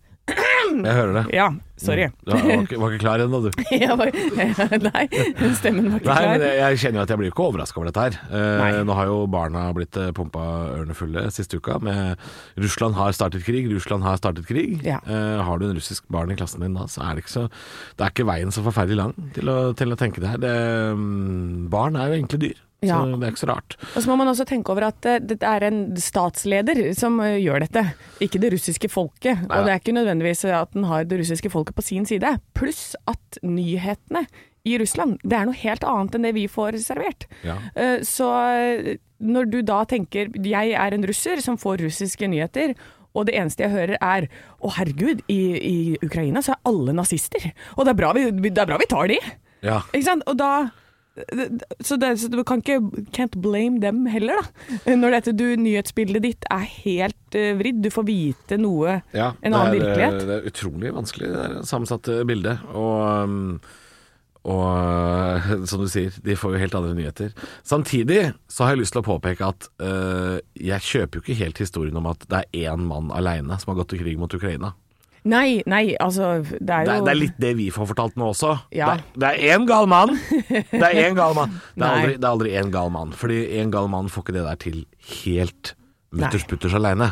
B: Jeg hører det.
C: Ja, sorry.
B: Du var ikke, var ikke klar ennå, du.
C: Jeg var, nei, den stemmen var ikke
B: Nei,
C: klar.
B: men jeg- jeg kjenner jo at jeg blir ikke overraska over dette her. Eh,
C: Nei.
B: nå har jo barna blitt eh, pumpa ørene fulle siste uka med 'Russland har startet krig', 'Russland har startet krig'.
C: Ja.
B: Eh, har du en russisk barn i klassen din da, så er det ikke, så, det er ikke veien så forferdelig lang til å, til å tenke det her. Det, mm, barn er jo enkle dyr. Så
C: Ja.
B: det er ikke så rart.
C: Og så må man også tenke over at eh, det er en statsleder som eh, gjør dette, ikke det russiske folket. Og det er ikke nødvendigvis at den har det russiske folket på sin side. Pluss at nyhetene i Russland, det er noe helt annet enn det vi får servert.
B: Ja.
C: Eh, Så eh, når du da tenker jeg er en russer som får russiske nyheter, og det eneste jeg hører er å herregud, i, i Ukraina så er alle nazister. Og det er bra vi, det er bra vi tar de.
B: Ja.
C: Ikke sant? Og da så, det, så du kan ikke can't blame dem heller, da. Når dette du, nyhetsbildet ditt er helt eh, vridd. Du får vite noe
B: Ja,
C: En annen
B: det er, eh,
C: virkelighet.
B: Det er utrolig vanskelig, det er sammensatte bildet. Og, um, og uh, som du sier, de får jo helt andre nyheter. Samtidig så har jeg lyst til å påpeke at uh, jeg kjøper jo ikke helt historien om at det er én mann aleine som har gått til krig mot Ukraina.
C: Nei, nei, altså Det er
B: Det
C: jo
B: er, det er litt det vi får fortalt nå også.
C: Ja.
B: Det er- Det er én gal mann! Det er én gal mann. Det er
C: Nei.
B: aldri- det er aldri én gal mann, fordi én gal mann får ikke det der til helt mutters
C: Nei.
B: putters aleine.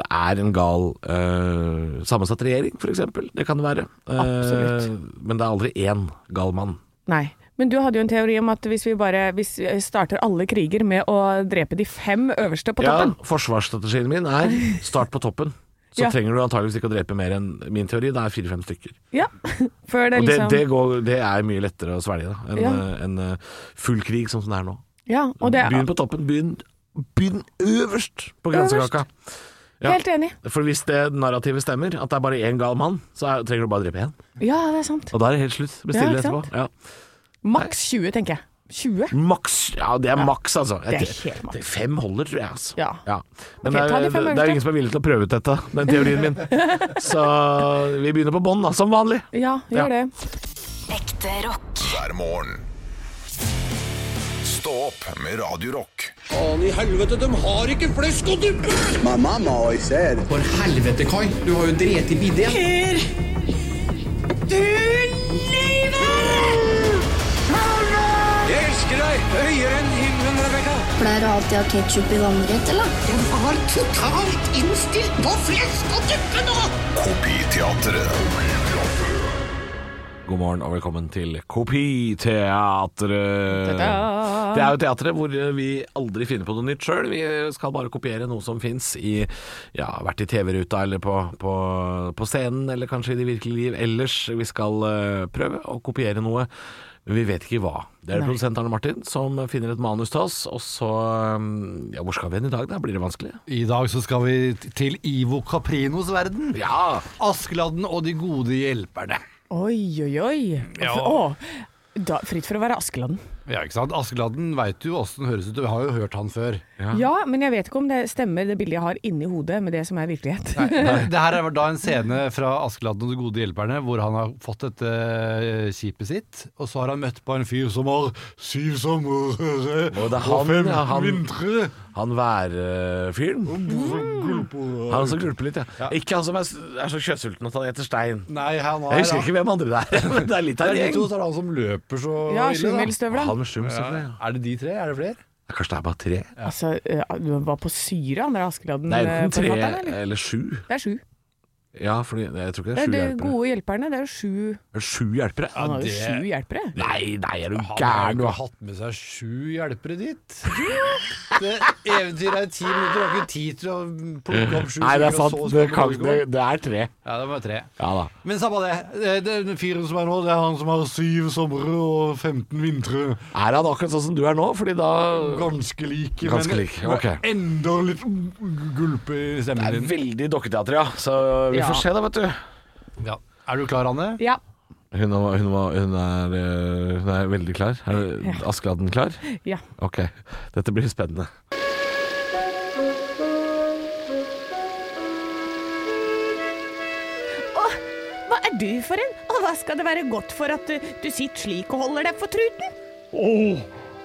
B: Det er en gal eh, sammensatt regjering, f.eks. Det kan det være. Eh,
C: Absolutt.
B: men det er aldri én gal mann.
C: Nei. Men du hadde jo en teori om at hvis vi bare hvis vi starter alle kriger med å drepe de fem øverste på
B: Ja,
C: toppen
B: forsvarsstrategien min er start på toppen. Så
C: Ja.
B: trenger du antageligvis ikke å drepe mer enn min teori. Det er fire-fem stykker.
C: Ja. Før det
B: Og det,
C: liksom
B: det, går, det er mye lettere å svelge da, enn
C: Ja.
B: eh, en eh, full krig som sånn det er nå.
C: Ja, og det
B: Begynn på toppen. Begynn, begynn øverst på grensekaka. Ja.
C: Helt enig.
B: For hvis det narrativet stemmer, at det er bare én gal mann, så er, trenger du bare drepe én.
C: Ja, det er sant.
B: Og da er det helt slutt. Bestill
C: Ja,
B: det
C: ikke
B: etterpå.
C: sant?
B: Ja.
C: Maks 20, tenker jeg. 20?
B: Maks. Ja, det er maks, altså.
C: Det er
B: Jeg-
C: helt maks.
B: det- Fem holder, tror jeg. Altså.
C: Ja.
B: Men
C: Ok,
B: det,
C: ta
B: er,
C: de
B: det,
C: fem
B: er jo
C: øverste.
B: ingen som er villig til å prøve ut dette, den teorien min. Så vi begynner på bånn, da, som vanlig.
C: Ja, gjør
B: Ja.
C: det.
F: Ekte rock.
A: hver morgen. Stå opp med Radio Rock.
G: Faen i helvete, de har ikke flesk og duppe!
H: My mom always said,
G: For helvete, Kai. Du har jo drept i bidé. Jeg elsker deg høyere enn himmelen, Rebekka.
I: Pleier du alltid å ha ketsjup i vannrett, eller?
G: Den var totalt innstilt på flesk og duppe nå!
A: Kopiteatret.
B: God morgen og velkommen til Kopiteatret.
C: Ta-da!
B: Det er jo teatret hvor eh, vi aldri finner på noe nytt sjøl. Vi eh, skal bare kopiere noe som fins i Ja, vært i TV-ruta eller på, på, på scenen, eller kanskje i det virkelige liv ellers. Vi skal eh, prøve å kopiere noe. Men vi vet ikke hva. Det er det produsent Arne Martin som finner et manus til oss, og så eh, Ja, hvor skal vi hen i dag, da? Blir det vanskelig?
J: I dag så skal vi t- til Ivo Caprinos verden.
B: Ja!
J: Askeladden og de gode hjelperne.
C: Oi, oi, oi.
J: Ja.
C: Å, da, fritt for å være Askeladden.
J: Ja, ikke sant? Askeladden veit jo åssen høres ut, vi har jo hørt han før.
C: Ja. men jeg vet ikke om det stemmer det bildet jeg har inni hodet med det som er virkelighet.
J: Det her er da en scene fra Askeladden og de gode hjelperne, hvor han har fått dette eh, skipet sitt, og så har han møtt på en fyr som har syv somre
B: Og det er han,
J: og fem
B: ja, han-
J: vintre.
B: Han værfyren. Han som gulper litt, ja. Ikke han som er, s- er så kjøttsulten at han heter stein.
J: Nei, han har
B: Jeg husker ikke hvem andre det er, men det er litt av
J: Det
B: en
J: er de
B: gjeng.
J: to, så er det han som løper så
C: Ja,
J: da.
C: sjumilsstøvla.
B: Han med sjum, selvfølgelig. Ja.
J: Er det de tre? Er det flere?
B: Kanskje det er bare tre?
C: Altså, eh, du var på syre, han der Askeladden.
B: Det er
C: eh,
B: enten tre
C: forfatteren, eller?
B: eller sju.
C: Det er sju.
B: Ja, fordi jeg tror ikke det er
C: Det er
B: sju
C: de
B: hjelpere.
C: gode hjelperne. Det er jo sju
B: Er det Sju hjelpere?
C: Han har jo
J: det-
C: sju hjelpere.
B: Nei, nei, er du
J: Han har
B: gæren? Du
J: jo ikke
B: har hatt
J: hatt med seg sju hjelpere dit. Det eventyret er ti minutter, du har ikke tid til å plukke opp sju.
B: Nei, det er
J: stykker,
B: sant.
J: og så
B: Det,
J: skal
B: kan,
J: du gå.
B: det, det er tre.
J: Ja, det var tre.
B: Ja da.
J: Men samme det. Det det er den fyren som er nå, det er han som har syv somre og 15 vintre.
B: Er han akkurat sånn som du er nå? Fordi da
J: Ganske like,
B: Ganske like, ok.
J: enda litt gulpe i
B: Det
J: stemmen
B: er
J: din.
B: veldig dokketeater, ja. Så vi
C: Ja.
B: får se, da, vet du.
J: Ja. Er du klar, Anne?
C: Ja.
B: Hun, var- hun, var- hun, er, eh, hun er veldig klar. Er Askeladden klar?
C: ja.
B: Ok, dette blir spennende.
C: Å, hva er du for en? Og hva skal det være godt for at du, du sitter slik og holder deg for truten?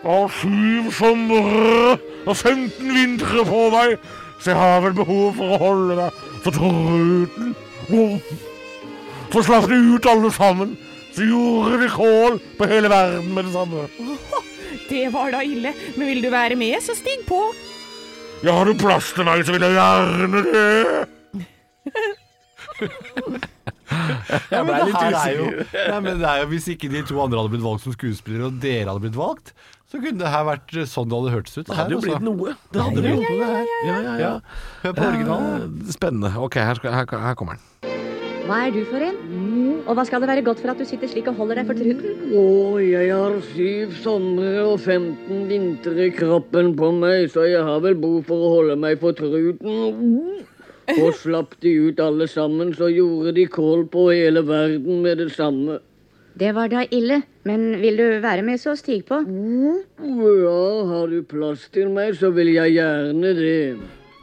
B: Av syv somre og 15 vintre på meg, så jeg har vel behov for å holde meg for truten. For slapp det ut alle sammen, så gjorde de kål på hele verden med det samme.
C: Det var da ille, men vil du være med, så stig på.
B: Ja, har du plass til meg, så vil jeg gjerne det.
J: Ja, men
B: ble
J: det
B: litt
J: her er jo,
B: usikker.
J: nei, men det er jo, hvis ikke de to andre hadde blitt valgt som skuespillere, og dere hadde blitt valgt, så kunne det her vært sånn det hadde hørtes ut. altså.
B: Det hadde jo blitt noe. Det hadde
J: Ja,
B: blitt
J: ja,
B: noe, det her. altså. Ja, ja, ja.
J: Hør på originalen.
B: Eh, Spennende. Ok, her, skal, her, her kommer den.
H: Hva er du for en?
C: Mm.
H: Og hva skal det være godt for at du sitter slik og holder deg for truten?
G: Å, jeg har syv somre og 15 vinter i kroppen på meg, så jeg har vel behov for å holde meg for truten. Og slapp de ut alle sammen, så gjorde de kål på hele verden med det samme.
H: Det var da ille, men vil du være med, så stig på.
G: Ja, har du plass til meg, så vil jeg gjerne det.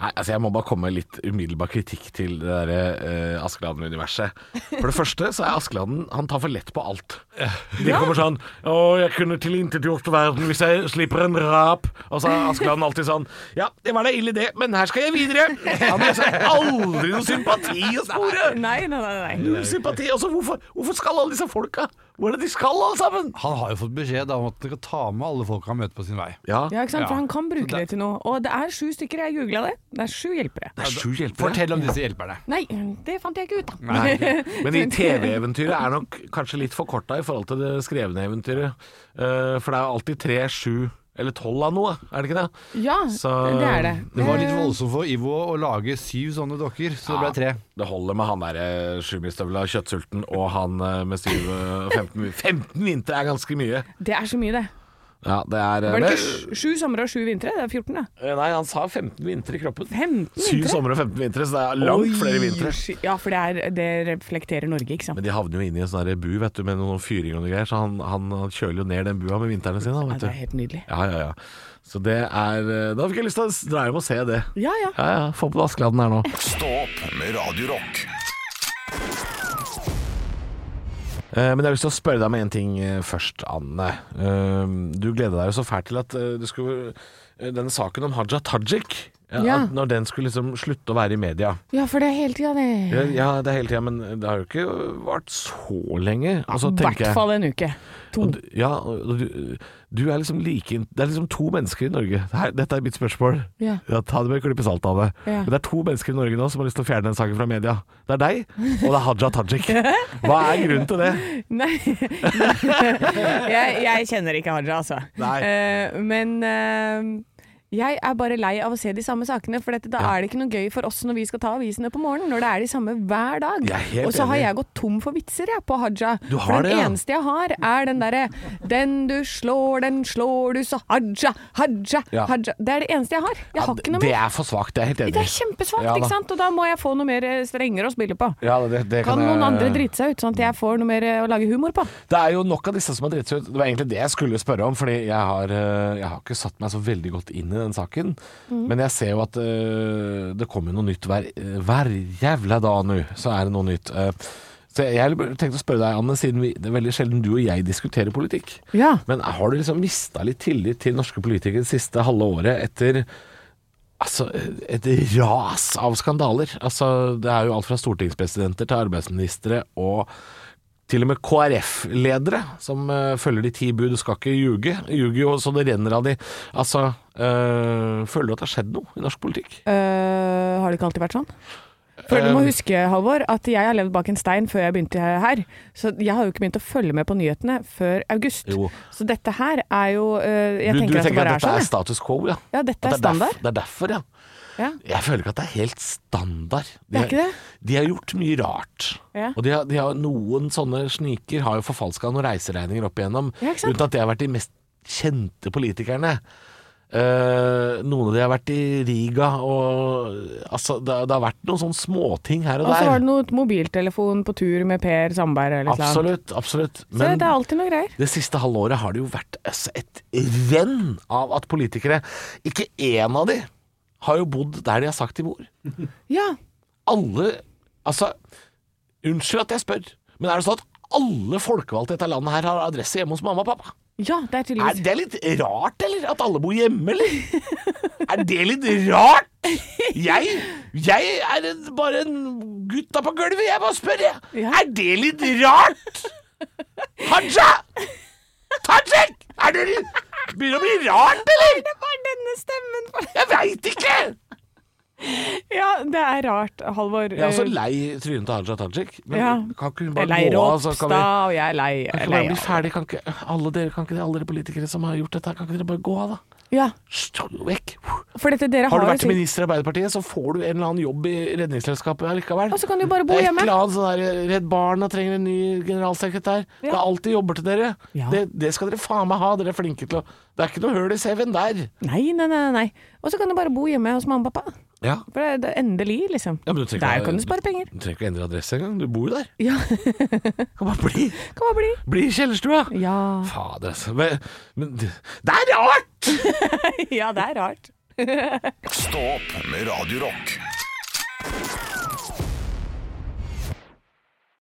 B: Nei, altså Jeg må bare komme med litt umiddelbar kritikk til det derre eh, Askeladden-universet. For det første så er Askeladden Han tar for lett på alt. De kommer sånn 'Å, jeg kunne tilintetgjort verden hvis jeg slipper en rap'. Og så er Askeladden alltid sånn 'Ja, det var da ille, det, men her skal jeg videre'. Han viser aldri noe sympati å spore.
C: Nei, nei, nei. nei.
B: Null sympati. Altså, hvorfor, hvorfor skal alle disse folka? Hvor er det de skal, alle sammen?
J: Han har jo fått beskjed da om at han kan ta med alle folk han møter på sin vei.
B: Ja,
C: Ja, ikke sant? For
J: Ja.
C: han kan
J: Så
C: bruke
J: det-
C: det til noe. Og det er sju stykker, jeg googla det. Det er sju hjelpere.
B: det er sju hjelpere.
J: Fortell om disse hjelperne.
C: Nei, det fant jeg ikke ut av.
J: Nei.
B: Men i TV-eventyret er nok kanskje litt forkorta i forhold til det skrevne eventyret. Eh, for det er jo alltid tre, sju eller tolv av noe, er det ikke det?
C: Ja,
B: Så-
C: det er det.
J: Det var
B: Eh.
J: litt voldsomt for Ivo å lage syv sånne dokker, så det ble tre.
B: Det holder med han derre eh, sjumilsstøvla kjøttsulten og han eh, med syv og 15 15 vintre er ganske mye.
C: Det er så mye, det.
B: Ja, det er eh,
C: Var det
B: men-
C: ikke sju- sju somre og sju vintre? Det er 14, da.
B: Eh, Nei, han sa 15 vintre i kroppen.
C: 15
B: Syv
C: vintre.
B: somre og 15 vintre, så det er langt
C: Oi,
B: flere vintre.
C: sky- Ja, for det, er, det reflekterer Norge, ikke sant.
B: Men de havner jo inne i en sånn der bu vet du, med noen fyring og noe greier, så han, han, han kjøler jo ned den bua med vintrene sine. han,
C: Ja,
B: Vet
C: det
B: du.
C: er helt nydelig.
B: Ja, ja, ja. Så det er eh, Da fikk jeg lyst til å s- dra hjem og se det.
C: Ja, ja.
B: Ja, ja. Få på deg Askeladden her nå.
A: Stå opp med Radio Rock.
B: Eh, Men jeg har lyst til å spørre deg om en ting eh, først, Anne. Eh, Du gleda deg jo så fælt til at eh, du skulle eh, Denne saken om Haja Tajik ja,
C: Ja.
B: at Når den skulle liksom slutte å være i media.
C: Ja, for det er hele tida, det.
B: Ja, ja, det er hele tida, men det har jo ikke vart så lenge. Og så
C: I hvert
B: tenker jeg-
C: fall en uke. To.
B: Og du- Ja, og du, du er liksom like int- Det er liksom to mennesker i Norge. Her, dette er mitt spørsmål.
C: Ja.
B: ta det med en klype salt av det.
C: Ja.
B: Men det er to mennesker i Norge nå som har lyst til å fjerne den saken fra media. Det er deg, og det er Haja Tajik. Hva er grunnen til det?
C: Nei jeg, jeg kjenner ikke Haja, altså.
B: Nei.
C: Eh, men eh, jeg er bare lei av å se de samme sakene, for dette, da er det ikke noe gøy for oss når vi skal ta avisene på morgenen, når det er de samme hver dag.
B: Jeg er helt
C: Og så har
B: enig.
C: jeg gått tom for vitser jeg, på Haja.
B: Du har
C: for den
B: det, ja.
C: eneste jeg har, er den derre Den du slår, den slår du, så Haja, Haja,
B: Ja.
C: Haja. Det er det eneste jeg har. Jeg
B: Ja,
C: har ikke noe
B: det
C: mer.
B: er for svakt, jeg er helt enig.
C: Det er kjempesvakt,
B: Ja, da.
C: ikke sant? Og da må jeg få noe mer eh, strengere å spille på.
B: Ja, det, det
C: Kan
B: jeg-
C: noen andre drite seg ut, sånn at jeg får noe mer eh, å lage humor på?
B: Det er jo nok av disse som har dritt seg ut. Det var egentlig det jeg skulle spørre om, fordi jeg har, eh, jeg har ikke satt meg så veldig godt inn i den saken. Men jeg ser jo at eh, det kommer jo noe nytt hver, eh, hver jævla dag nå, så er det noe nytt. Eh, så jeg tenkte å spørre deg, Anne, siden vi, det er veldig sjelden du og jeg diskuterer politikk.
C: Ja.
B: Men har du liksom mista litt tillit til norske politikere det siste halve året etter Altså, et ras av skandaler. Altså, det er jo alt fra stortingspresidenter til arbeidsministre og til og med KrF-ledere som eh, følger de ti bud. Du skal ikke ljuge. Ljuger jo så det renner av de. Altså, eh, føler du at det har skjedd noe i norsk politikk?
C: Øh, har det ikke alltid vært sånn? For Du må
B: Eh,
C: huske, Halvor, at jeg har levd bak en stein før jeg begynte her. Så jeg har jo ikke begynt å følge med på nyhetene før august.
B: Jo.
C: Så dette her er jo øh, Jeg
B: du,
C: tenker,
B: du
C: at det
B: tenker
C: bare
B: at
C: er
B: dette
C: sånn.
B: er status quo, ja?
C: ja. ja,
B: At
C: dette er
B: derf-
C: standard.
B: det er derfor, ja.
C: Ja.
B: Jeg føler ikke at det er helt standard. De
C: Det er ikke det?
B: De har gjort mye rart.
C: Ja.
B: Og de har, de har, noen sånne sniker har jo forfalska noen reiseregninger opp igjennom,
C: Ja, ikke sant?
B: uten at det har vært de mest kjente politikerne. Eh, noen av de har vært i Riga og Altså, det, det har vært noen sånne småting her og,
C: Og så
B: der.
C: var det noe mobiltelefon på tur med Per Sandberg eller noe sånt.
B: absolutt, absolutt.
C: Så
B: Men
C: det er alltid noe greier.
B: det siste halvåret har det jo vært altså, et renn av at politikere Ikke én av de har jo bodd der de har sagt de bor.
C: Ja.
B: alle Altså, unnskyld at jeg spør, men er det sånn at alle folkevalgte i dette landet her har adresse hjemme hos mamma og pappa?
C: ja, det er
B: Er
C: tydeligvis
B: det litt rart, eller? At alle bor hjemme, eller? Er det litt rart? Jeg, jeg er en, bare en gutta på gulvet, jeg bare spør, jeg.
C: Ja.
B: Er det litt rart? Haja! Tajik! Er det litt Begynner å bli rart, eller?
C: Det var denne stemmen!
B: Jeg veit ikke!
C: Ja, det er rart, Halvor.
B: Jeg er også
C: Eh,
B: lei trynet til Haja Tajik. Men
C: Ja.
B: kan ikke hun
C: Jeg
B: bare
C: er lei
B: gå av, så kan vi
C: Ropstad, og jeg er lei,
B: kan
C: jeg
B: ikke
C: er
B: bare
C: lei
B: bli ferdig? Kan ikke alle dere, kan ikke alle dere politikere som har gjort dette, kan ikke dere bare gå av, da?
C: Ja,
B: Stå vekk!
C: for dette dere har,
B: Har du vært
C: jo sikkert-
B: minister i Arbeiderpartiet, så får du en eller annen jobb i Redningsselskapet allikevel.
C: Og så kan du bare bo
B: det er et
C: hjemme.
B: eller annet sånn der Redd Barna trenger en ny generalsekretær. Det er alltid jobber til dere.
C: Ja.
B: Det, det skal dere faen meg ha, dere er flinke til å Det er ikke noe høl i CV-en der.
C: Nei, nei, nei. nei. Og så kan du bare bo hjemme hos mamma og pappa.
B: Ja.
C: For det er det er endelig, liksom.
B: Ja, men du trenger
C: Der
B: ikke-
C: kan du spare penger.
B: Du trenger ikke å endre adresse engang, du bor jo der.
C: Ja,
B: Kan bare bli,
C: kan bare bli.
B: bli i kjellerstua.
C: Ja.
B: Fader, altså. Men, men det det er rart!
C: ja, det er rart.
A: Stå opp med Radio Rock.